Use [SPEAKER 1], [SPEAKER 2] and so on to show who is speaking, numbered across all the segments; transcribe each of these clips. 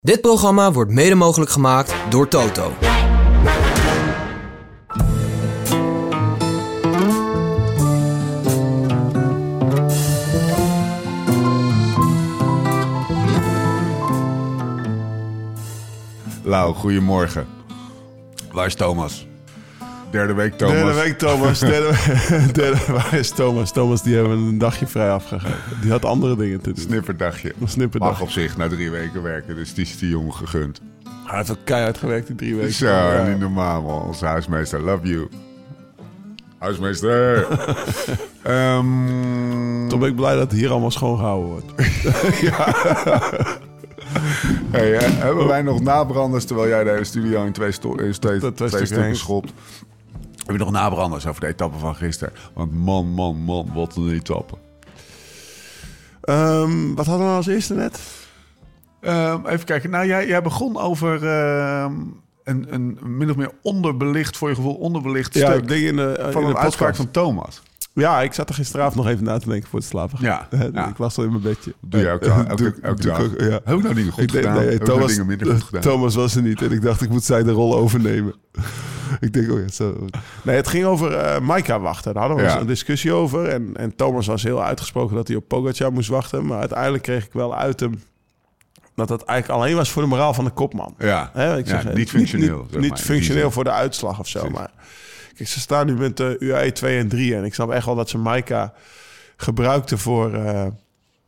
[SPEAKER 1] Dit programma wordt mede mogelijk gemaakt door Toto.
[SPEAKER 2] Lau, goedemorgen. Waar is Thomas? Derde week Thomas.
[SPEAKER 3] Derde week Thomas. Derde, derde, waar is Thomas? Thomas die hebben een dagje vrij afgegeven. Die had andere dingen te doen.
[SPEAKER 2] Snipperdagje.
[SPEAKER 3] Een snipperdag.
[SPEAKER 2] Mag op zich na drie weken werken, dus die is die jongen gegund.
[SPEAKER 3] Hij heeft ook keihard gewerkt die drie weken.
[SPEAKER 2] Zo,
[SPEAKER 3] Ja.
[SPEAKER 2] niet normaal man. Onze huismeester, love you. Huismeester. Ehm,
[SPEAKER 3] Toen ben ik blij dat het hier allemaal schoongehouden wordt.
[SPEAKER 2] hey, eh, hebben wij nog nabranders terwijl jij de hele studio in twee, sto- in twee,
[SPEAKER 3] Dat
[SPEAKER 2] twee
[SPEAKER 3] was natuurlijk
[SPEAKER 2] stukken
[SPEAKER 3] eens.
[SPEAKER 2] schopt? Heb je nog nabranders over de etappe van gisteren? Want man, man, man, wat een etappe.
[SPEAKER 3] Ehm, wat hadden we nou als eerste net?
[SPEAKER 2] Ehm, even kijken. Nou, jij, jij begon over ehm, een, een min of meer onderbelicht, voor je gevoel onderbelicht
[SPEAKER 3] Ja,
[SPEAKER 2] stuk
[SPEAKER 3] ik denk in de, eh,
[SPEAKER 2] van
[SPEAKER 3] in
[SPEAKER 2] een
[SPEAKER 3] de
[SPEAKER 2] uitspraak
[SPEAKER 3] podcast.
[SPEAKER 2] van Thomas.
[SPEAKER 3] Ja, ik zat er gisteravond nog even na te denken voor het slapen.
[SPEAKER 2] Ja,
[SPEAKER 3] Eh,
[SPEAKER 2] ja.
[SPEAKER 3] Ik was al in mijn bedje.
[SPEAKER 2] Doe jij ook
[SPEAKER 3] Eh,
[SPEAKER 2] elke,
[SPEAKER 3] doe-
[SPEAKER 2] elke, elke
[SPEAKER 3] doe ik
[SPEAKER 2] dag?
[SPEAKER 3] ook, ja.
[SPEAKER 2] Heb ik nou dingen goed
[SPEAKER 3] Ik denk-
[SPEAKER 2] gedaan?
[SPEAKER 3] nee,
[SPEAKER 2] Heb ik nou
[SPEAKER 3] Thomas,
[SPEAKER 2] dingen minder goed gedaan?
[SPEAKER 3] Thomas was er niet. En ik dacht, ik moet zij de rol overnemen. ik denk, oh ja, zo. Nee, het ging over eh Maika wachten. Daar hadden we
[SPEAKER 2] Ja.
[SPEAKER 3] eens een discussie over. En, en Thomas was heel uitgesproken dat hij op Pogacar moest wachten. Maar uiteindelijk kreeg ik wel uit hem dat dat eigenlijk alleen was voor de moraal van de kopman.
[SPEAKER 2] ja,
[SPEAKER 3] Hè, ik
[SPEAKER 2] Ja,
[SPEAKER 3] zeg, eh,
[SPEAKER 2] niet functioneel.
[SPEAKER 3] Niet,
[SPEAKER 2] zeg
[SPEAKER 3] niet
[SPEAKER 2] maar, in die
[SPEAKER 3] functioneel
[SPEAKER 2] zin.
[SPEAKER 3] voor de uitslag of zo.
[SPEAKER 2] Precies.
[SPEAKER 3] Maar kijk, ze staan nu met eh UAE 2 en 3. En ik snap echt wel dat ze Maika gebruikte voor. eh,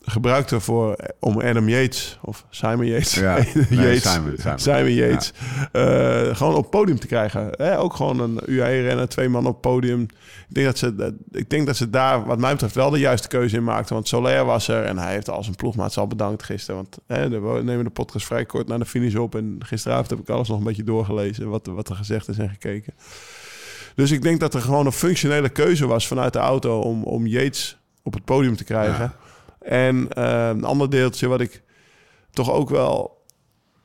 [SPEAKER 3] gebruikte voor eh, om Adam Yates of Simon Yates,
[SPEAKER 2] Ja, nee, Simon, Simon.
[SPEAKER 3] Yates eh, gewoon op podium te krijgen. Hè, ook gewoon een UAE-renner, twee man op podium. Ik denk, dat ze, dat- ik denk dat ze daar, wat mij betreft, wel de juiste keuze in maakten. Want Soler was er en hij heeft al zijn ploegmaats al bedankt gisteren. Want hè, de- we nemen de podcast vrij kort na de finish op. En gisteravond heb ik alles nog een beetje doorgelezen. Wat, wat er gezegd is en gekeken. Dus ik denk dat er gewoon een functionele keuze was vanuit de auto om, om Yates op het podium te krijgen. En eh, een ander deeltje wat ik toch ook wel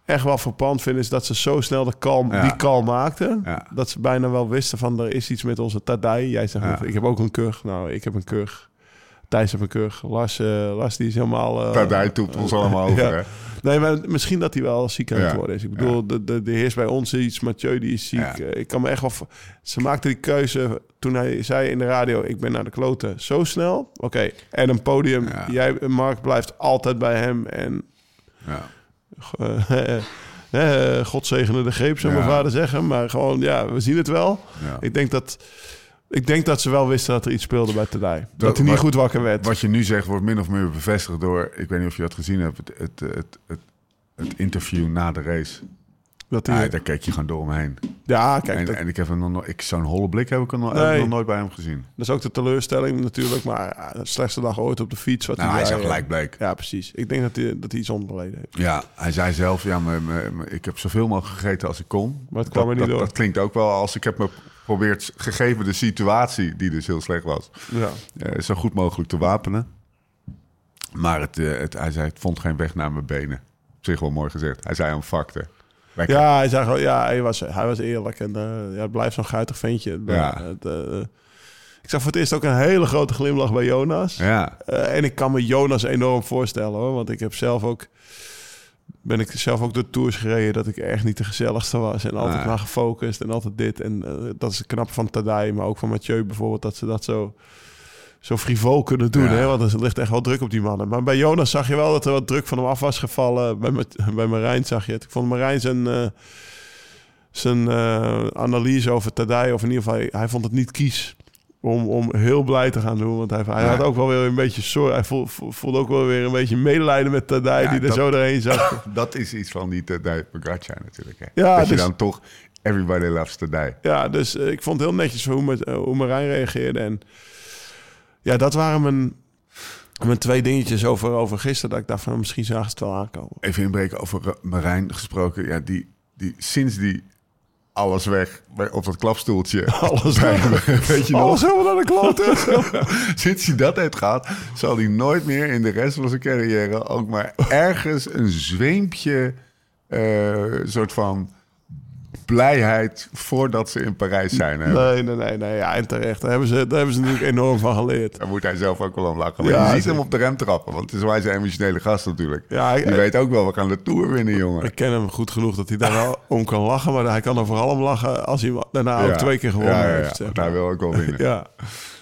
[SPEAKER 3] echt wel verpand vind... is dat ze zo snel de kalm,
[SPEAKER 2] Ja.
[SPEAKER 3] die kalm maakten...
[SPEAKER 2] Ja.
[SPEAKER 3] dat ze bijna wel wisten van er is iets met onze Tadai. Jij zegt,
[SPEAKER 2] Ja.
[SPEAKER 3] net, ik heb ook een kurg. Nou, ik heb een kurg. Thijs heeft een kurg. Lars, eh, Lars die is helemaal... eh,
[SPEAKER 2] Daar- Daar toept ons allemaal over,
[SPEAKER 3] Ja.
[SPEAKER 2] hè?
[SPEAKER 3] Nee, maar misschien dat hij wel ziek aan het
[SPEAKER 2] Ja.
[SPEAKER 3] worden is. Ik bedoel, de, de, de heerst bij ons iets. Mathieu die is ziek.
[SPEAKER 2] Ja.
[SPEAKER 3] Eh, Ik kan me echt wel... voor- Ze maakte die keuze toen hij zei in de radio... ik ben naar de kloten. Zo snel? Oké. En een podium.
[SPEAKER 2] Ja.
[SPEAKER 3] Jij, Mark, blijft altijd bij hem. En
[SPEAKER 2] Ja.
[SPEAKER 3] eh, eh, God zegene de greep, zou mijn
[SPEAKER 2] Ja.
[SPEAKER 3] vader zeggen. Maar gewoon, ja, we zien het wel.
[SPEAKER 2] Ja.
[SPEAKER 3] Ik denk dat... Ik denk dat ze wel wisten dat er iets speelde bij Tadai. Dat,
[SPEAKER 2] Dat-
[SPEAKER 3] hij niet
[SPEAKER 2] wat-
[SPEAKER 3] goed wakker werd.
[SPEAKER 2] Wat je nu zegt wordt min of meer bevestigd door, ik weet niet of je dat gezien hebt, het, het, het, het, het interview na de race.
[SPEAKER 3] dat
[SPEAKER 2] Ja,
[SPEAKER 3] hij,
[SPEAKER 2] daar keek je gewoon door omheen.
[SPEAKER 3] ja, kijk,
[SPEAKER 2] en,
[SPEAKER 3] dat-
[SPEAKER 2] en Ah, ik heb hem nog nooit, ik- zo'n holle blik heb ik nog, heb ik
[SPEAKER 3] Nee.
[SPEAKER 2] nog nooit bij hem gezien.
[SPEAKER 3] Dat is ook de teleurstelling natuurlijk, maar ah, de slechtste dag ooit op de fiets. Wat
[SPEAKER 2] Nou, hij is
[SPEAKER 3] zei,
[SPEAKER 2] al gelijk bleek.
[SPEAKER 3] eh, Ja, precies. Ik denk dat hij, dat hij iets onderleden heeft.
[SPEAKER 2] Ja, hij zei zelf, ja, maar, maar- maar ik heb zoveel mogelijk gegeten als ik kon.
[SPEAKER 3] Maar het kwam
[SPEAKER 2] dat,
[SPEAKER 3] er niet
[SPEAKER 2] dat,
[SPEAKER 3] door.
[SPEAKER 2] Dat klinkt ook wel als ik heb me geprobeerd, gegeven de situatie, die dus heel slecht was,
[SPEAKER 3] Ja.
[SPEAKER 2] eh, zo goed mogelijk te wapenen. Maar het, eh, het, hij zei, het vond geen weg naar mijn benen. Op zich wel mooi gezegd. Hij zei, I'm fucked. Lekker.
[SPEAKER 3] Ja, hij, zei gewoon, ja, hij, was, hij was eerlijk en eh ja, het blijft zo'n guitig ventje.
[SPEAKER 2] Ja.
[SPEAKER 3] Het, eh, ik zag voor het eerst ook een hele grote glimlach bij Jonas.
[SPEAKER 2] Ja.
[SPEAKER 3] Eh, en ik kan me Jonas enorm voorstellen hoor. Want ik heb zelf ook. Ben ik zelf ook door tours gereden dat ik echt niet de gezelligste was. En altijd
[SPEAKER 2] Nee.
[SPEAKER 3] maar gefocust en altijd dit. En eh, dat is knap van Tadai, maar ook van Mathieu bijvoorbeeld. Dat ze dat zo, zo frivol kunnen doen.
[SPEAKER 2] Ja.
[SPEAKER 3] Hè? Want er ligt echt wel druk op die mannen. Maar bij Jonas zag je wel dat er wat druk van hem af was gevallen. Bij, Ma- bij Marijn zag je het. Ik vond Marijn zijn, eh, zijn eh, analyse over Tadai, of in ieder geval, hij, hij vond het niet kies om, om heel blij te gaan doen. Want hij, hij
[SPEAKER 2] Ja.
[SPEAKER 3] had ook wel weer een beetje zorg. Hij voel- voel- voelde ook wel weer een beetje medelijden met Tadai,
[SPEAKER 2] Ja,
[SPEAKER 3] die er
[SPEAKER 2] dat-
[SPEAKER 3] zo doorheen zat.
[SPEAKER 2] Dat is iets van die Tadej Pogacar natuurlijk. Hè.
[SPEAKER 3] Ja,
[SPEAKER 2] dat je
[SPEAKER 3] dus-
[SPEAKER 2] dan toch, everybody loves Tadej.
[SPEAKER 3] ja, dus eh, ik vond het heel netjes hoe, met, eh, hoe Marijn reageerde. En ja, dat waren mijn, mijn twee dingetjes over, over gisteren. Dat ik dacht van, nou, misschien zagen ze het wel aankomen.
[SPEAKER 2] Even inbreken over eh, Marijn gesproken. Ja, die, die, sinds die alles weg bij- op dat klapstoeltje.
[SPEAKER 3] Alles
[SPEAKER 2] bij- weet je nog?
[SPEAKER 3] Alles helemaal naar de kloten.
[SPEAKER 2] Sinds hij dat heeft gehad, zal hij nooit meer in de rest van zijn carrière ook maar ergens een zweempje eh, soort van blijheid voordat ze in Parijs zijn. Hè?
[SPEAKER 3] Nee, nee, nee, nee. Ja, en terecht. Daar hebben ze, daar hebben ze natuurlijk enorm van geleerd.
[SPEAKER 2] Daar moet hij zelf ook wel om lachen. Maar
[SPEAKER 3] Ja,
[SPEAKER 2] je ziet
[SPEAKER 3] zeker.
[SPEAKER 2] hem op de rem trappen, want het is wij zijn emotionele gast natuurlijk.
[SPEAKER 3] Ja, ik-
[SPEAKER 2] Die weet ook wel, we gaan de Tour winnen, jongen.
[SPEAKER 3] Ik ken hem goed genoeg dat hij daar wel om kan lachen. Maar hij kan er vooral om lachen als hij daarna ook
[SPEAKER 2] Ja.
[SPEAKER 3] twee keer gewonnen
[SPEAKER 2] Ja, Nou, ja, ja.
[SPEAKER 3] heeft. zeg
[SPEAKER 2] Want
[SPEAKER 3] maar.
[SPEAKER 2] hij wil ook wel winnen.
[SPEAKER 3] Ja.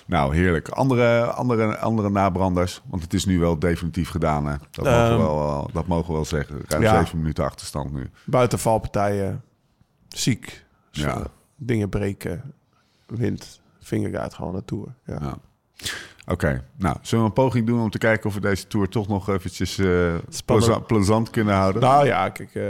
[SPEAKER 2] Nou, heerlijk. Andere, andere, andere nabranders, want het is nu wel definitief gedaan. Hè? Dat, mogen we
[SPEAKER 3] Ehm.
[SPEAKER 2] wel, eh, dat mogen we wel zeggen. Ruim
[SPEAKER 3] Ja.
[SPEAKER 2] zeven minuten achterstand nu.
[SPEAKER 3] Buitenvalpartijen, ziek, zo,
[SPEAKER 2] Ja.
[SPEAKER 3] dingen breken, wind, vingergaard gewoon naar Tour. Ja.
[SPEAKER 2] Ja. Oké, nou, zullen we een poging doen om te kijken of we deze tour toch nog eventjes eh, pleza- plezant kunnen houden?
[SPEAKER 3] Nou ja, kijk, eh,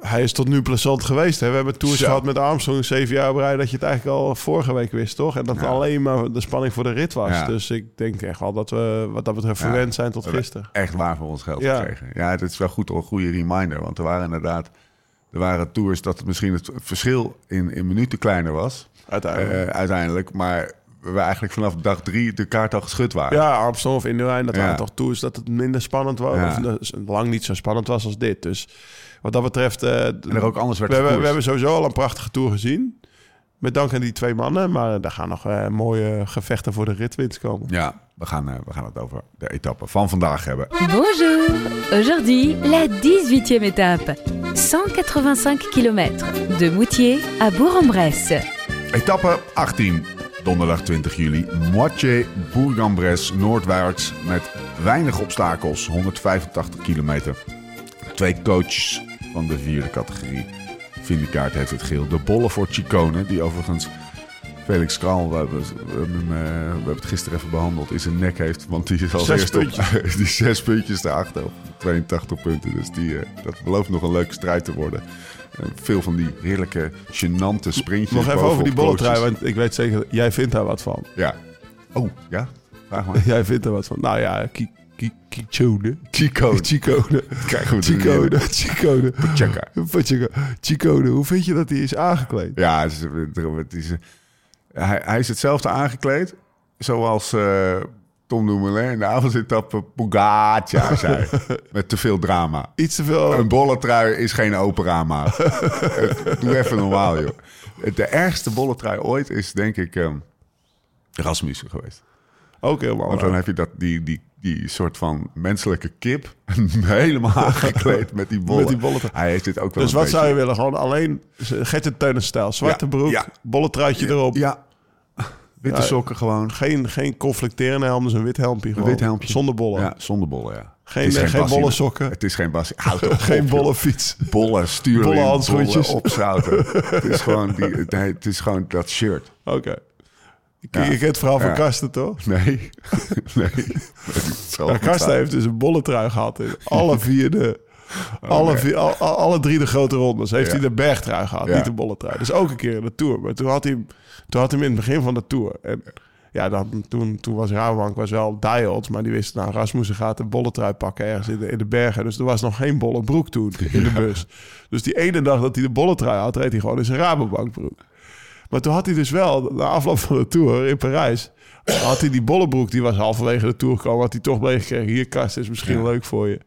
[SPEAKER 3] hij is tot nu plezant geweest. Hè? We hebben tours
[SPEAKER 2] Zo.
[SPEAKER 3] gehad met Armstrong zeven jaar op rij dat je het eigenlijk al vorige week wist, toch? En dat het
[SPEAKER 2] Ja.
[SPEAKER 3] alleen maar de spanning voor de rit was.
[SPEAKER 2] Ja.
[SPEAKER 3] Dus ik denk echt wel dat we wat dat betreft
[SPEAKER 2] Ja. Eh,
[SPEAKER 3] verwend zijn tot
[SPEAKER 2] We hebben
[SPEAKER 3] gisteren.
[SPEAKER 2] Echt waar voor ons geld
[SPEAKER 3] Ja.
[SPEAKER 2] gekregen. Ja, het is wel goed, een goede reminder. Want er waren inderdaad er waren tours dat het misschien het verschil in, in minuten kleiner was.
[SPEAKER 3] Uiteindelijk.
[SPEAKER 2] eh, uiteindelijk, maar we eigenlijk vanaf dag drie de kaart al geschud waren.
[SPEAKER 3] Ja, Armstrong of Indurain, dat
[SPEAKER 2] Ja.
[SPEAKER 3] waren toch tours dat het minder spannend was.
[SPEAKER 2] Ja.
[SPEAKER 3] Of dus lang niet zo spannend was als dit. Dus wat dat betreft... eh,
[SPEAKER 2] En er ook anders werd
[SPEAKER 3] we, hebben,
[SPEAKER 2] gekoerst.
[SPEAKER 3] we hebben sowieso al een prachtige tour gezien. Met dank aan die twee mannen. Maar eh, daar gaan nog eh, mooie gevechten voor de ritwinst komen.
[SPEAKER 2] Ja, we gaan, eh, we gaan het over de etappe van vandaag hebben.
[SPEAKER 4] Bonjour Aujourd'hui, la 18e étape. 185 km de Moutier à Bourg-en-Bresse.
[SPEAKER 2] Etappe 18, donderdag 20 juli. Moitié Bourg-en-Bresse, noordwaarts met weinig obstakels, 185 kilometer. Twee coaches van de vierde categorie. Vindekaart heeft het geel. De bollen voor Chicone, die overigens Felix Kral, we hebben, we, hebben hem, eh, we hebben het gisteren even behandeld, in zijn nek heeft. Want die is al
[SPEAKER 3] Zes
[SPEAKER 2] eerst op die zes puntjes erachter op 82 punten. Dus die, eh, dat belooft nog een leuke strijd te worden. Eh, veel van die heerlijke, gênante sprintjes.
[SPEAKER 3] Nog even
[SPEAKER 2] bovenop
[SPEAKER 3] over die bolletrui,
[SPEAKER 2] coaches.
[SPEAKER 3] want ik weet zeker, jij vindt daar wat van.
[SPEAKER 2] Ja. Oh, ja? Vraag maar.
[SPEAKER 3] Jij vindt er wat van. Nou ja, ki- ki- Kichone.
[SPEAKER 2] Chicone.
[SPEAKER 3] Chicone.
[SPEAKER 2] Krijgen we
[SPEAKER 3] Chicone. Chicone.
[SPEAKER 2] Checker.
[SPEAKER 3] Pacheco. Chicone. Hoe vind je dat hij is aangekleed?
[SPEAKER 2] Ja, het is, het is, hij, hij is hetzelfde aangekleed zoals eh, Tom Dumoulin in de avondetappe Pogacar zei. Met te veel drama.
[SPEAKER 3] Iets te veel...
[SPEAKER 2] Een bolletrui is geen opera, maat. Doe even normaal, joh. De ergste bolletrui ooit is, denk ik, ehm Rasmussen geweest.
[SPEAKER 3] Ook helemaal.
[SPEAKER 2] Want dan heb je dat, die, die, die soort van menselijke kip helemaal aangekleed met die bollen.
[SPEAKER 3] Met die bollen.
[SPEAKER 2] Hij heeft dit ook wel
[SPEAKER 3] Dus
[SPEAKER 2] een
[SPEAKER 3] wat
[SPEAKER 2] beetje-
[SPEAKER 3] zou je willen? Gewoon alleen Gertje Teunenstijl. Zwarte
[SPEAKER 2] Ja,
[SPEAKER 3] broek,
[SPEAKER 2] ja.
[SPEAKER 3] bolle truitje erop.
[SPEAKER 2] Ja, witte
[SPEAKER 3] Ja,
[SPEAKER 2] sokken gewoon.
[SPEAKER 3] Geen, geen conflicterende helm, dus een wit helmpje. Gewoon.
[SPEAKER 2] wit helmpje.
[SPEAKER 3] Zonder bollen.
[SPEAKER 2] Ja, zonder bollen, ja.
[SPEAKER 3] Geen-
[SPEAKER 2] Het is
[SPEAKER 3] eh, geen
[SPEAKER 2] Bassi-
[SPEAKER 3] bolle sokken.
[SPEAKER 2] Het is geen bas. Houd toch op,
[SPEAKER 3] Geen
[SPEAKER 2] joh.
[SPEAKER 3] bolle fiets.
[SPEAKER 2] Bollen sturen.
[SPEAKER 3] Bolle
[SPEAKER 2] in,
[SPEAKER 3] handschoentjes.
[SPEAKER 2] Bollen opzouten. het, is gewoon die, nee, het is gewoon dat shirt.
[SPEAKER 3] Oké. Je, je kent het verhaal van
[SPEAKER 2] Ja.
[SPEAKER 3] Karsten, toch?
[SPEAKER 2] Nee. nee. Het zal
[SPEAKER 3] Ja,
[SPEAKER 2] goed
[SPEAKER 3] Karsten
[SPEAKER 2] zijn.
[SPEAKER 3] heeft dus een bolle trui gehad in alle vier de... alle,
[SPEAKER 2] Oh, nee.
[SPEAKER 3] vier, al- al- alle drie de grote rondes
[SPEAKER 2] Ja.
[SPEAKER 3] heeft hij de bergtrui gehad,
[SPEAKER 2] Ja.
[SPEAKER 3] niet de bolle trui. Dus ook een keer in de Tour. Maar toen had hij, hem- toen had hij hem in het begin van de Tour. En ja, dan, toen, toen was Rabobank was wel dialed, maar die wist, nou, Rasmussen gaat de bolle trui pakken ergens in de, in de bergen. Dus er was nog geen bolle broek toen in de bus. Dus die ene dag dat hij de bolle trui had, reed hij gewoon in zijn Rabobankbroek. Maar toen had hij dus wel, na afloop van de Tour in Parijs... had hij die bollebroek, die was halverwege de Tour gekomen... had hij toch meegekregen, hier Karsten, is misschien
[SPEAKER 2] Ja.
[SPEAKER 3] leuk voor je.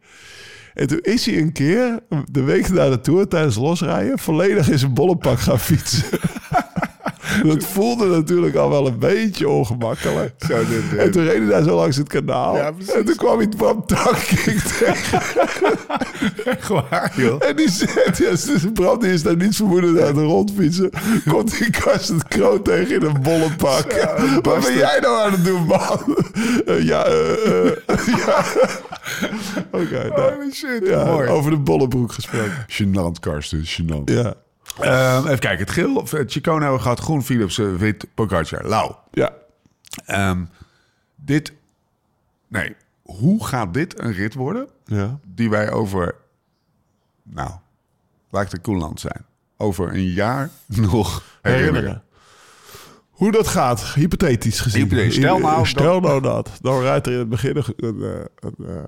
[SPEAKER 3] En toen is hij een keer, de week na de Tour, tijdens losrijden... volledig in zijn bollenpak gaan fietsen. Dat voelde natuurlijk al wel een beetje ongemakkelijk.
[SPEAKER 2] Zo, dit,
[SPEAKER 3] En
[SPEAKER 2] dit.
[SPEAKER 3] toen reed hij daar zo langs het kanaal.
[SPEAKER 2] Ja, precies.
[SPEAKER 3] en toen kwam hij Bram Tankink tegen.
[SPEAKER 2] Echt waar, joh.
[SPEAKER 3] En die zegt, ja, dus Bram die is daar niet vermoedend aan de rondfietsen. Komt die Karsten Kroon tegen in een bolle pak. Wat ben jij nou aan het doen, man? Eh, ja, eh, eh, ja. Oké, nou,
[SPEAKER 2] Holy shit,
[SPEAKER 3] ja,
[SPEAKER 2] mooi.
[SPEAKER 3] over de bollebroek gesproken.
[SPEAKER 2] Gênant, Karsten, gênant.
[SPEAKER 3] Ja,
[SPEAKER 2] Ehm, even kijken, het geel. of, eh, Chicone hebben we gehad, groen Philips, eh, wit Pogacar. Lau.
[SPEAKER 3] ja.
[SPEAKER 2] Ehm, dit. Nee, hoe gaat dit een rit worden
[SPEAKER 3] ja.
[SPEAKER 2] die wij over. Nou, laat ik de Koenland zijn. Over een jaar nog herinneren.
[SPEAKER 3] Herinneren. Hoe dat gaat, hypothetisch gezien.
[SPEAKER 2] Hypothetisch. Stel nou
[SPEAKER 3] Stel nou dat. Dan rijdt er in het begin een, een, eh, een, eh,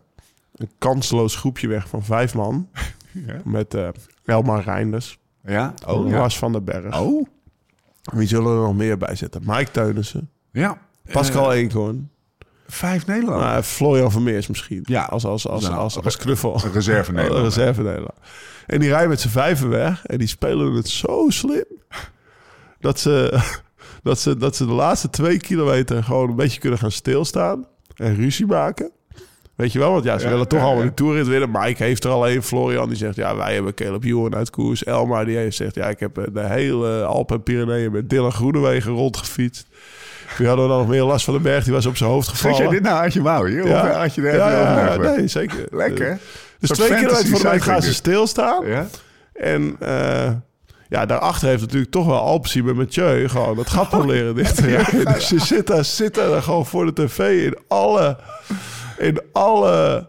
[SPEAKER 3] een kansloos groepje weg van vijf man.
[SPEAKER 2] Ja?
[SPEAKER 3] Met eh Elmar Reinders,
[SPEAKER 2] Ja?
[SPEAKER 3] oh,
[SPEAKER 2] Oh, ja.
[SPEAKER 3] Lars van den Berg.
[SPEAKER 2] Oh,
[SPEAKER 3] Wie zullen er nog meer bij zitten? Mike Teunissen,
[SPEAKER 2] ja.
[SPEAKER 3] Pascal Eenkhoorn,
[SPEAKER 2] Eh, Vijf Nederlanders.
[SPEAKER 3] Maar Florian Vermeers misschien.
[SPEAKER 2] Ja.
[SPEAKER 3] Als, als, als,
[SPEAKER 2] Nou,
[SPEAKER 3] als,
[SPEAKER 2] re-
[SPEAKER 3] als knuffel.
[SPEAKER 2] Een reserve
[SPEAKER 3] Een
[SPEAKER 2] Nederlander.
[SPEAKER 3] reserve Nederland. En die rijden met z'n vijven weg. En die spelen het zo slim. Dat ze, dat, ze, dat ze de laatste twee kilometer gewoon een beetje kunnen gaan stilstaan. En ruzie maken. Weet je wel, want ja, ze
[SPEAKER 2] Ja,
[SPEAKER 3] willen toch
[SPEAKER 2] ja,
[SPEAKER 3] allemaal
[SPEAKER 2] ja.
[SPEAKER 3] de Tourrit winnen. Mike heeft er al een. Florian die zegt, ja, wij hebben Caleb Ewan uit koers. Elma die heeft zegt, ja, ik heb eh, de hele Alpen en Pyreneeën met Dylan Groenewegen rondgefietst. Wie hadden we dan nog meer last van de berg? Die was op zijn hoofd
[SPEAKER 2] Vind
[SPEAKER 3] gevallen.
[SPEAKER 2] jij dit nou uit je mouw hier? Of had je er even over
[SPEAKER 3] ja,
[SPEAKER 2] nagedacht?
[SPEAKER 3] nee, zeker.
[SPEAKER 2] Lekker. hè?
[SPEAKER 3] Dus
[SPEAKER 2] Een soort
[SPEAKER 3] twee kilometer
[SPEAKER 2] fantasy
[SPEAKER 3] voor de meet
[SPEAKER 2] cycling
[SPEAKER 3] gaan ze
[SPEAKER 2] dit.
[SPEAKER 3] stilstaan.
[SPEAKER 2] Ja?
[SPEAKER 3] En eh, ja, daarachter heeft natuurlijk toch wel Alpsie bij Mathieu gewoon dat gat proberen dicht te rijden. Dus ze zit daar, zit daar gewoon voor de tv in alle, in alle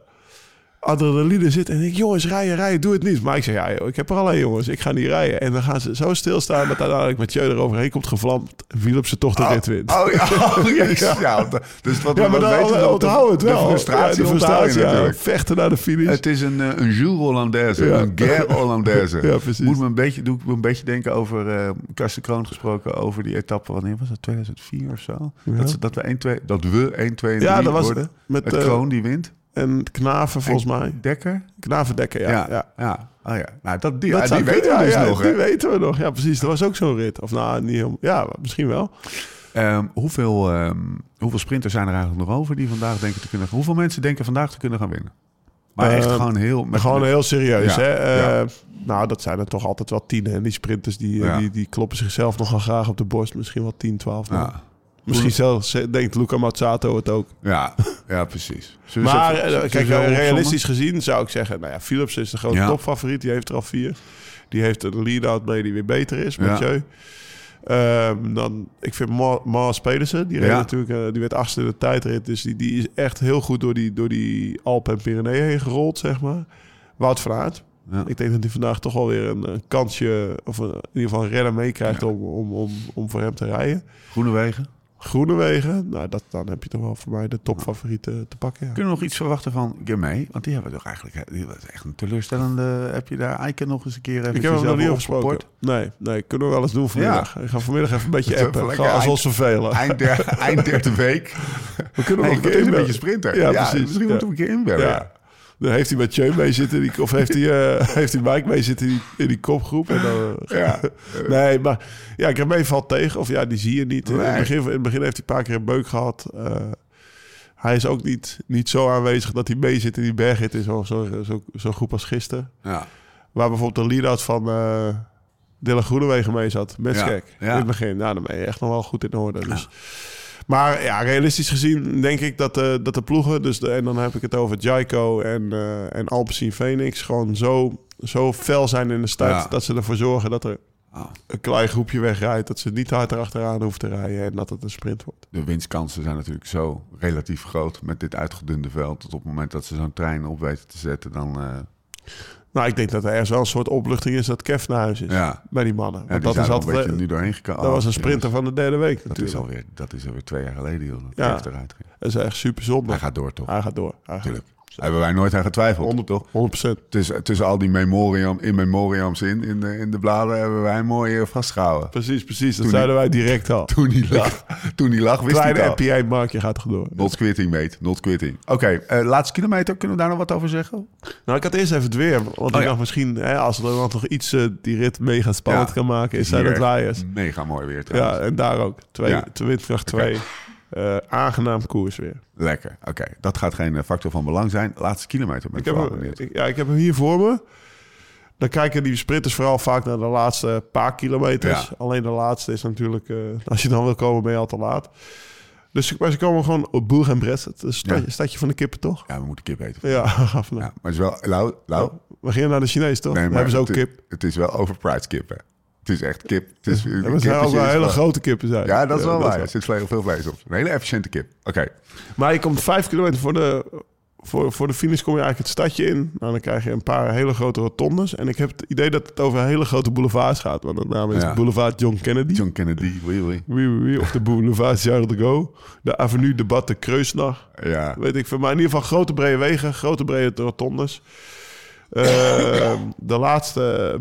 [SPEAKER 3] adrenaline zit. En ik, jongens, rijden, rijden, doe het niet. Maar ik zeg, ja joh, ik heb er alleen jongens, ik ga niet rijden. En dan gaan ze zo stilstaan dat uiteindelijk Mathieu eroverheen komt gevlamd. Philipsen toch de rit wint.
[SPEAKER 2] Oh ja, oh, jezus. ja, want, eh, dus wat
[SPEAKER 3] ja, maar
[SPEAKER 2] wat
[SPEAKER 3] dan
[SPEAKER 2] weten we dat
[SPEAKER 3] onthouden onthoud het
[SPEAKER 2] de-
[SPEAKER 3] wel.
[SPEAKER 2] De frustratie,
[SPEAKER 3] ja,
[SPEAKER 2] ja,
[SPEAKER 3] de frustratie ja,
[SPEAKER 2] natuurlijk.
[SPEAKER 3] vechten naar de finish.
[SPEAKER 2] Het is een, eh, een Jules Hollandaise,
[SPEAKER 3] Ja.
[SPEAKER 2] een Ger Hollandaise.
[SPEAKER 3] Ja, precies.
[SPEAKER 2] Moet me een beetje, doe ik me een beetje denken over eh Karsten Kroon gesproken over die etappe. Wanneer was dat? 2004 of zo?
[SPEAKER 3] Ja.
[SPEAKER 2] Dat, ze- dat we 1, 2, dat we 1, 2 en 3
[SPEAKER 3] ja, dat was
[SPEAKER 2] worden.
[SPEAKER 3] het. Met,
[SPEAKER 2] Met
[SPEAKER 3] eh,
[SPEAKER 2] Kroon die wint.
[SPEAKER 3] En knaven volgens mij.
[SPEAKER 2] Dekker.
[SPEAKER 3] Knavendekker, ja. ja.
[SPEAKER 2] ja. ja. Oh ja. Nou, dat, die,
[SPEAKER 3] Dat
[SPEAKER 2] ah,
[SPEAKER 3] zou
[SPEAKER 2] die weten
[SPEAKER 3] kunnen,
[SPEAKER 2] we dus
[SPEAKER 3] ja, ja,
[SPEAKER 2] nog. hè?
[SPEAKER 3] Die weten we nog, ja precies. Er was ook zo'n rit. Of nou, niet helemaal. Ja, misschien wel.
[SPEAKER 2] Ehm, hoeveel, ehm, hoeveel sprinters zijn er eigenlijk nog over die vandaag denken te kunnen Hoeveel mensen denken vandaag te kunnen gaan winnen? Maar echt
[SPEAKER 3] Ehm,
[SPEAKER 2] gewoon heel...
[SPEAKER 3] Maar gewoon heel serieus,
[SPEAKER 2] Ja,
[SPEAKER 3] hè. Eh,
[SPEAKER 2] ja.
[SPEAKER 3] Nou, dat zijn er toch altijd wel tien, hè. Die sprinters, die, eh,
[SPEAKER 2] Ja.
[SPEAKER 3] die, die kloppen zichzelf nogal graag op de borst. Misschien wel 10, 12. man.
[SPEAKER 2] Ja,
[SPEAKER 3] Misschien zelfs eh, denkt Luca Mazzato het ook.
[SPEAKER 2] ja, ja precies. Zullen we
[SPEAKER 3] Maar
[SPEAKER 2] eens even-
[SPEAKER 3] eh,
[SPEAKER 2] zullen we eens
[SPEAKER 3] kijk,
[SPEAKER 2] even
[SPEAKER 3] eh,
[SPEAKER 2] opzommen?
[SPEAKER 3] realistisch gezien zou ik zeggen... Nou ja, Philips is de grote
[SPEAKER 2] Ja.
[SPEAKER 3] topfavoriet. Die heeft er al vier. Die heeft een lead-out mee die weer beter is,
[SPEAKER 2] Ja.
[SPEAKER 3] Mathieu. Ehm, dan, ik vind Ma- Maas Pedersen, die, reed
[SPEAKER 2] Ja.
[SPEAKER 3] natuurlijk, eh, die werd achtste in de tijdrit. Dus die, die is echt heel goed door die, door die Alpen en Pyreneeën heen gerold, zeg maar. Wout van Aert.
[SPEAKER 2] Ja.
[SPEAKER 3] Ik denk dat hij vandaag toch wel weer een, een kansje... of een- in ieder geval een renner meekrijgt om, om, om, om voor hem te rijden.
[SPEAKER 2] Groenewegen.
[SPEAKER 3] Groenewegen, nou, dat, dan heb je toch wel voor mij de topfavoriet eh, te pakken. Ja.
[SPEAKER 2] Kunnen we nog iets verwachten van Germay? Want die hebben we toch eigenlijk... Die was echt een teleurstellende... Heb je daar Eiken nog eens een keer even
[SPEAKER 3] Ik heb hem nog
[SPEAKER 2] jezelf
[SPEAKER 3] niet over
[SPEAKER 2] op
[SPEAKER 3] gesproken.
[SPEAKER 2] geport?
[SPEAKER 3] Nee, nee, kunnen we wel eens doen vanmiddag. Ik ga vanmiddag even een beetje
[SPEAKER 2] Even
[SPEAKER 3] appen.
[SPEAKER 2] lekker
[SPEAKER 3] Gewoon als
[SPEAKER 2] eind-
[SPEAKER 3] ons vervelen.
[SPEAKER 2] Eind, der, eind derde week.
[SPEAKER 3] We kunnen
[SPEAKER 2] Hey,
[SPEAKER 3] nog een
[SPEAKER 2] het
[SPEAKER 3] keer
[SPEAKER 2] is een
[SPEAKER 3] inbellen.
[SPEAKER 2] beetje sprinter.
[SPEAKER 3] Ja, precies.
[SPEAKER 2] Misschien
[SPEAKER 3] Ja.
[SPEAKER 2] moeten we een keer inbellen.
[SPEAKER 3] Ja. Dan heeft hij met Jeu mee zitten. Die, of heeft hij, eh, heeft hij Mike mee zitten in die, in die kopgroep. En dan, eh,
[SPEAKER 2] Ja.
[SPEAKER 3] nee, maar ja, ik heb mee valt tegen. Of ja, die zie je niet. In,
[SPEAKER 2] Nee.
[SPEAKER 3] het begin, in het begin heeft hij een paar keer een beuk gehad. Eh, hij is ook niet, niet zo aanwezig dat hij mee zit in die berghit. in Zo'n zo, zo, zo groep als gisteren.
[SPEAKER 2] ja.
[SPEAKER 3] Waar bijvoorbeeld de lead-out van eh Dylan Groenewegen mee zat. Met
[SPEAKER 2] Ja,
[SPEAKER 3] Skek.
[SPEAKER 2] ja.
[SPEAKER 3] In het begin. Nou, dan ben je echt nog wel goed in orde. Dus. Maar ja, realistisch gezien denk ik dat, eh, dat de ploegen... Dus de, en dan heb ik het over Jaiko en, eh en Alpecin Phoenix... gewoon zo, zo fel zijn in de start...
[SPEAKER 2] Ja.
[SPEAKER 3] dat ze ervoor zorgen dat er
[SPEAKER 2] Ah,
[SPEAKER 3] een klein groepje wegrijdt. Dat ze niet hard erachteraan hoeven te rijden. En dat het een sprint wordt.
[SPEAKER 2] De winstkansen zijn natuurlijk zo relatief groot met dit uitgedunde veld. Dat op het moment dat ze zo'n trein op weten te zetten, dan... eh,
[SPEAKER 3] Nou, ik denk dat er ergens wel een soort opluchting is... dat Kev naar huis is
[SPEAKER 2] ja,
[SPEAKER 3] bij die mannen.
[SPEAKER 2] ja
[SPEAKER 3] Want
[SPEAKER 2] die
[SPEAKER 3] dat
[SPEAKER 2] zijn
[SPEAKER 3] is
[SPEAKER 2] er een
[SPEAKER 3] altijd... eh,
[SPEAKER 2] beetje nu doorheen gekomen.
[SPEAKER 3] dat
[SPEAKER 2] Oh,
[SPEAKER 3] was een
[SPEAKER 2] jongens,
[SPEAKER 3] sprinter van de derde week
[SPEAKER 2] Dat is,
[SPEAKER 3] natuurlijk.
[SPEAKER 2] alweer, dat is alweer twee jaar geleden, joh. Dat
[SPEAKER 3] Ja.
[SPEAKER 2] heeft eruit ging.
[SPEAKER 3] Dat is echt super zonde.
[SPEAKER 2] Hij gaat door, toch?
[SPEAKER 3] Hij gaat door. Hij gaat
[SPEAKER 2] Tuurlijk. Hebben wij nooit aan getwijfeld,
[SPEAKER 3] 100
[SPEAKER 2] toch?
[SPEAKER 3] 100%.
[SPEAKER 2] Tussen, tussen al die memoriam, in memoriams in, in de, in de bladen, hebben wij mooi eh, vastgehouden.
[SPEAKER 3] Precies, precies. Dat
[SPEAKER 2] Toen
[SPEAKER 3] zeiden wij direct al.
[SPEAKER 2] Toen hij lag, toen hij lag wist
[SPEAKER 3] Kleine
[SPEAKER 2] hij het al.
[SPEAKER 3] NPA markje gaat Dus- toch door.
[SPEAKER 2] Not quitting, mate. Not quitting. Oké, eh, laatste kilometer. Kunnen we daar nog wat over zeggen?
[SPEAKER 3] Nou, ik had eerst even het weer. Want ik
[SPEAKER 2] Oh ja.
[SPEAKER 3] dacht misschien, hè, als er dan toch iets eh, die rit mega spannend
[SPEAKER 2] Ja,
[SPEAKER 3] kan maken, is
[SPEAKER 2] Hier
[SPEAKER 3] zijn het waaiers.
[SPEAKER 2] Mega mooi weer trouwens.
[SPEAKER 3] Ja, en daar ook. Twee,
[SPEAKER 2] Ja.
[SPEAKER 3] te windkracht 2. Eh, aangenaam koers weer.
[SPEAKER 2] Lekker. Oké, dat gaat geen eh, factor van belang zijn. Laatste kilometer. Ben ik
[SPEAKER 3] Ik heb,
[SPEAKER 2] wel
[SPEAKER 3] hem,
[SPEAKER 2] benieuwd.
[SPEAKER 3] ik- ja, ik heb hem hier voor me. Dan kijken die sprinters vooral vaak naar de laatste paar kilometers.
[SPEAKER 2] Ja.
[SPEAKER 3] Alleen de laatste is natuurlijk... eh, als je dan wil komen, ben je al te laat. Dus ik- maar ze komen gewoon op Boer en Brest. Het is
[SPEAKER 2] Ja.
[SPEAKER 3] een stadje van de kippen, toch?
[SPEAKER 2] Ja, we moeten kip eten.
[SPEAKER 3] Ja, gaaf. nou.
[SPEAKER 2] Ja, maar het is wel... Lau, lau,
[SPEAKER 3] Oh, we gingen naar de Chinees, toch?
[SPEAKER 2] nee, maar
[SPEAKER 3] Daar hebben ze ook
[SPEAKER 2] het,
[SPEAKER 3] kip.
[SPEAKER 2] Het is wel overpriced kip, hè. Het is echt kip. Het is,
[SPEAKER 3] Ja, maar
[SPEAKER 2] kip
[SPEAKER 3] het zijn
[SPEAKER 2] is
[SPEAKER 3] ook wel
[SPEAKER 2] hier
[SPEAKER 3] hele
[SPEAKER 2] wel-
[SPEAKER 3] grote kippen. Zijn.
[SPEAKER 2] Ja, dat is wel waar. Er
[SPEAKER 3] waar.
[SPEAKER 2] zit veel, veel vlees op. Een hele efficiënte kip. Oké.
[SPEAKER 3] Maar je komt vijf kilometer voor de, voor, voor de finish kom je eigenlijk het stadje in. Nou, dan krijg je een paar hele grote rotondes. En ik heb het idee dat het over hele grote boulevards gaat. Want de naam is
[SPEAKER 2] Ja.
[SPEAKER 3] Boulevard John Kennedy.
[SPEAKER 2] John Kennedy. Wee, wee.
[SPEAKER 3] Wie, wie, wie, of de Boulevard Charles de Gaulle. De Avenue Debat de Kreusnach.
[SPEAKER 2] Ja.
[SPEAKER 3] Weet ik veel. Maar in ieder geval grote brede wegen, grote brede rotondes. Eh, de laatste,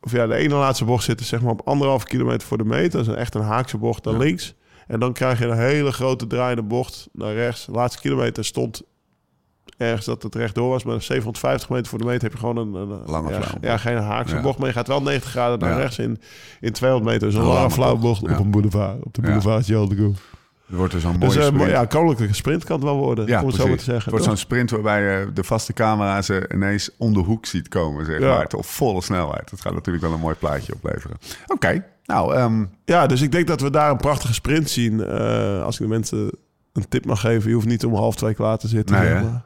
[SPEAKER 3] of ja, de ene laatste bocht zit er zeg maar op anderhalf kilometer voor de meter. Dat is een- echt een haakse bocht naar links. En dan krijg je een hele grote draaiende bocht naar rechts. De laatste kilometer stond ergens dat het rechtdoor was. Maar 750 meter voor de meter heb je gewoon een... een
[SPEAKER 2] Lange
[SPEAKER 3] ja,
[SPEAKER 2] flauwe
[SPEAKER 3] ja, geen haakse
[SPEAKER 2] Ja.
[SPEAKER 3] bocht. Maar je gaat wel 90 graden naar
[SPEAKER 2] Ja.
[SPEAKER 3] rechts in, in 200 meter. Zo'n
[SPEAKER 2] Een
[SPEAKER 3] lange
[SPEAKER 2] lange
[SPEAKER 3] flauwe
[SPEAKER 2] bocht,
[SPEAKER 3] bocht
[SPEAKER 2] ja.
[SPEAKER 3] op een boulevard. Op de
[SPEAKER 2] Ja.
[SPEAKER 3] boulevard Charles de Gaulle.
[SPEAKER 2] Er wordt dus een mooie
[SPEAKER 3] Dus eh,
[SPEAKER 2] sprint.
[SPEAKER 3] ja, koninklijke sprint kan het wel worden,
[SPEAKER 2] Ja,
[SPEAKER 3] om het zo maar te
[SPEAKER 2] precies.
[SPEAKER 3] zeggen.
[SPEAKER 2] Het wordt
[SPEAKER 3] toch?
[SPEAKER 2] zo'n sprint waarbij je de vaste camera ze ineens om de hoek ziet komen, zeg
[SPEAKER 3] Ja.
[SPEAKER 2] maar. Op volle snelheid. Dat gaat natuurlijk wel een mooi plaatje opleveren. Oké, nou, ehm,
[SPEAKER 3] Ja, dus ik denk dat we daar een prachtige sprint zien. Eh, als ik de mensen een tip mag geven, je hoeft niet om half twee klaar te zitten.
[SPEAKER 2] Nee,
[SPEAKER 3] zeg
[SPEAKER 2] hè?
[SPEAKER 3] maar.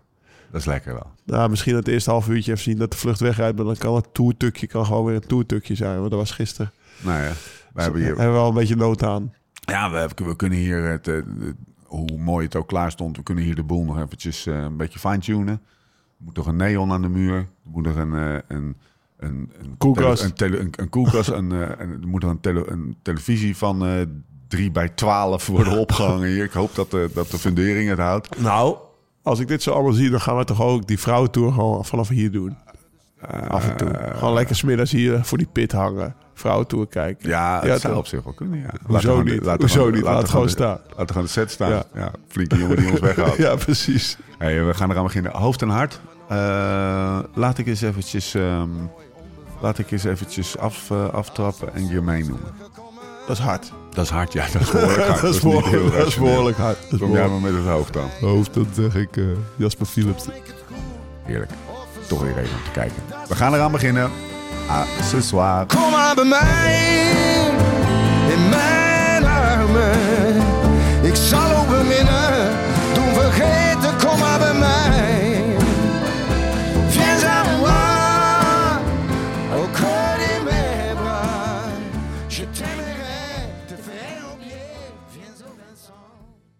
[SPEAKER 2] dat is lekker wel.
[SPEAKER 3] Nou, misschien het eerste half uurtje even zien dat de vlucht wegrijdt. Maar dan kan het toertukje kan gewoon weer een toertukje zijn. Want dat was gisteren.
[SPEAKER 2] Nou ja, we hebben
[SPEAKER 3] Daar
[SPEAKER 2] hier...
[SPEAKER 3] hebben we al een beetje nood aan.
[SPEAKER 2] Ja, we, hebben- we kunnen hier... Het, eh, de- hoe mooi het ook klaar stond, we kunnen hier de boel nog eventjes eh, een beetje fine-tunen. Er moet nog een neon aan de muur. Er moet nog een... eh, een een, een
[SPEAKER 3] Koelkast.
[SPEAKER 2] tele- een, tele- een, een koelkast. een, eh, een- er moet nog een, tele- een televisie van eh 3 bij 12 worden opgehangen hier. Ik hoop dat de, dat de fundering het houdt.
[SPEAKER 3] Nou, als ik dit zo allemaal zie, dan gaan we toch ook die vrouwentour gewoon vanaf hier doen.
[SPEAKER 2] Eh,
[SPEAKER 3] Af en toe. Gewoon lekker smiddags hier voor die pit hangen. Vrouwentour kijken.
[SPEAKER 2] Ja, het zou
[SPEAKER 3] toch?
[SPEAKER 2] op zich wel kunnen, ja.
[SPEAKER 3] Hoezo
[SPEAKER 2] gewoon de-
[SPEAKER 3] niet?
[SPEAKER 2] Laten
[SPEAKER 3] Hoezo
[SPEAKER 2] gewoon-
[SPEAKER 3] niet? Laat
[SPEAKER 2] laten
[SPEAKER 3] het gewoon
[SPEAKER 2] de-
[SPEAKER 3] staan.
[SPEAKER 2] Laten we gewoon de set staan. Ja.
[SPEAKER 3] Ja.
[SPEAKER 2] flinke jongen die ons weghoudt.
[SPEAKER 3] ja, precies.
[SPEAKER 2] hey, we gaan eraan beginnen. Hoofd en hart. Eh, laat ik eens eventjes, ehm, laat ik eens eventjes af, eh, aftrappen en Jermaine noemen.
[SPEAKER 3] Dat is hard.
[SPEAKER 2] Dat is hard, ja. Dat is behoorlijk hard.
[SPEAKER 3] dat is
[SPEAKER 2] niet heel
[SPEAKER 3] behoorlijk, dat is
[SPEAKER 2] rationeel.
[SPEAKER 3] behoorlijk hard. Dat is
[SPEAKER 2] Kom jij
[SPEAKER 3] behoorlijk.
[SPEAKER 2] maar met het hoofd dan.
[SPEAKER 3] Hoofd, dat zeg ik eh, Jasper Philips.
[SPEAKER 2] Heerlijk. Toch weer even om te kijken. We gaan eraan beginnen. Ah, ce soir.
[SPEAKER 5] Kom maar bij mij in mijn armen. Ik zal ook beminnen, doen vergeten, kom maar bij mij. Viens à moi, au cœur de mes bras. Je t'aimerai, te faire oublier, viens au Vincent.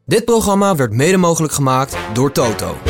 [SPEAKER 1] Dit programma werd mede mogelijk gemaakt door Toto.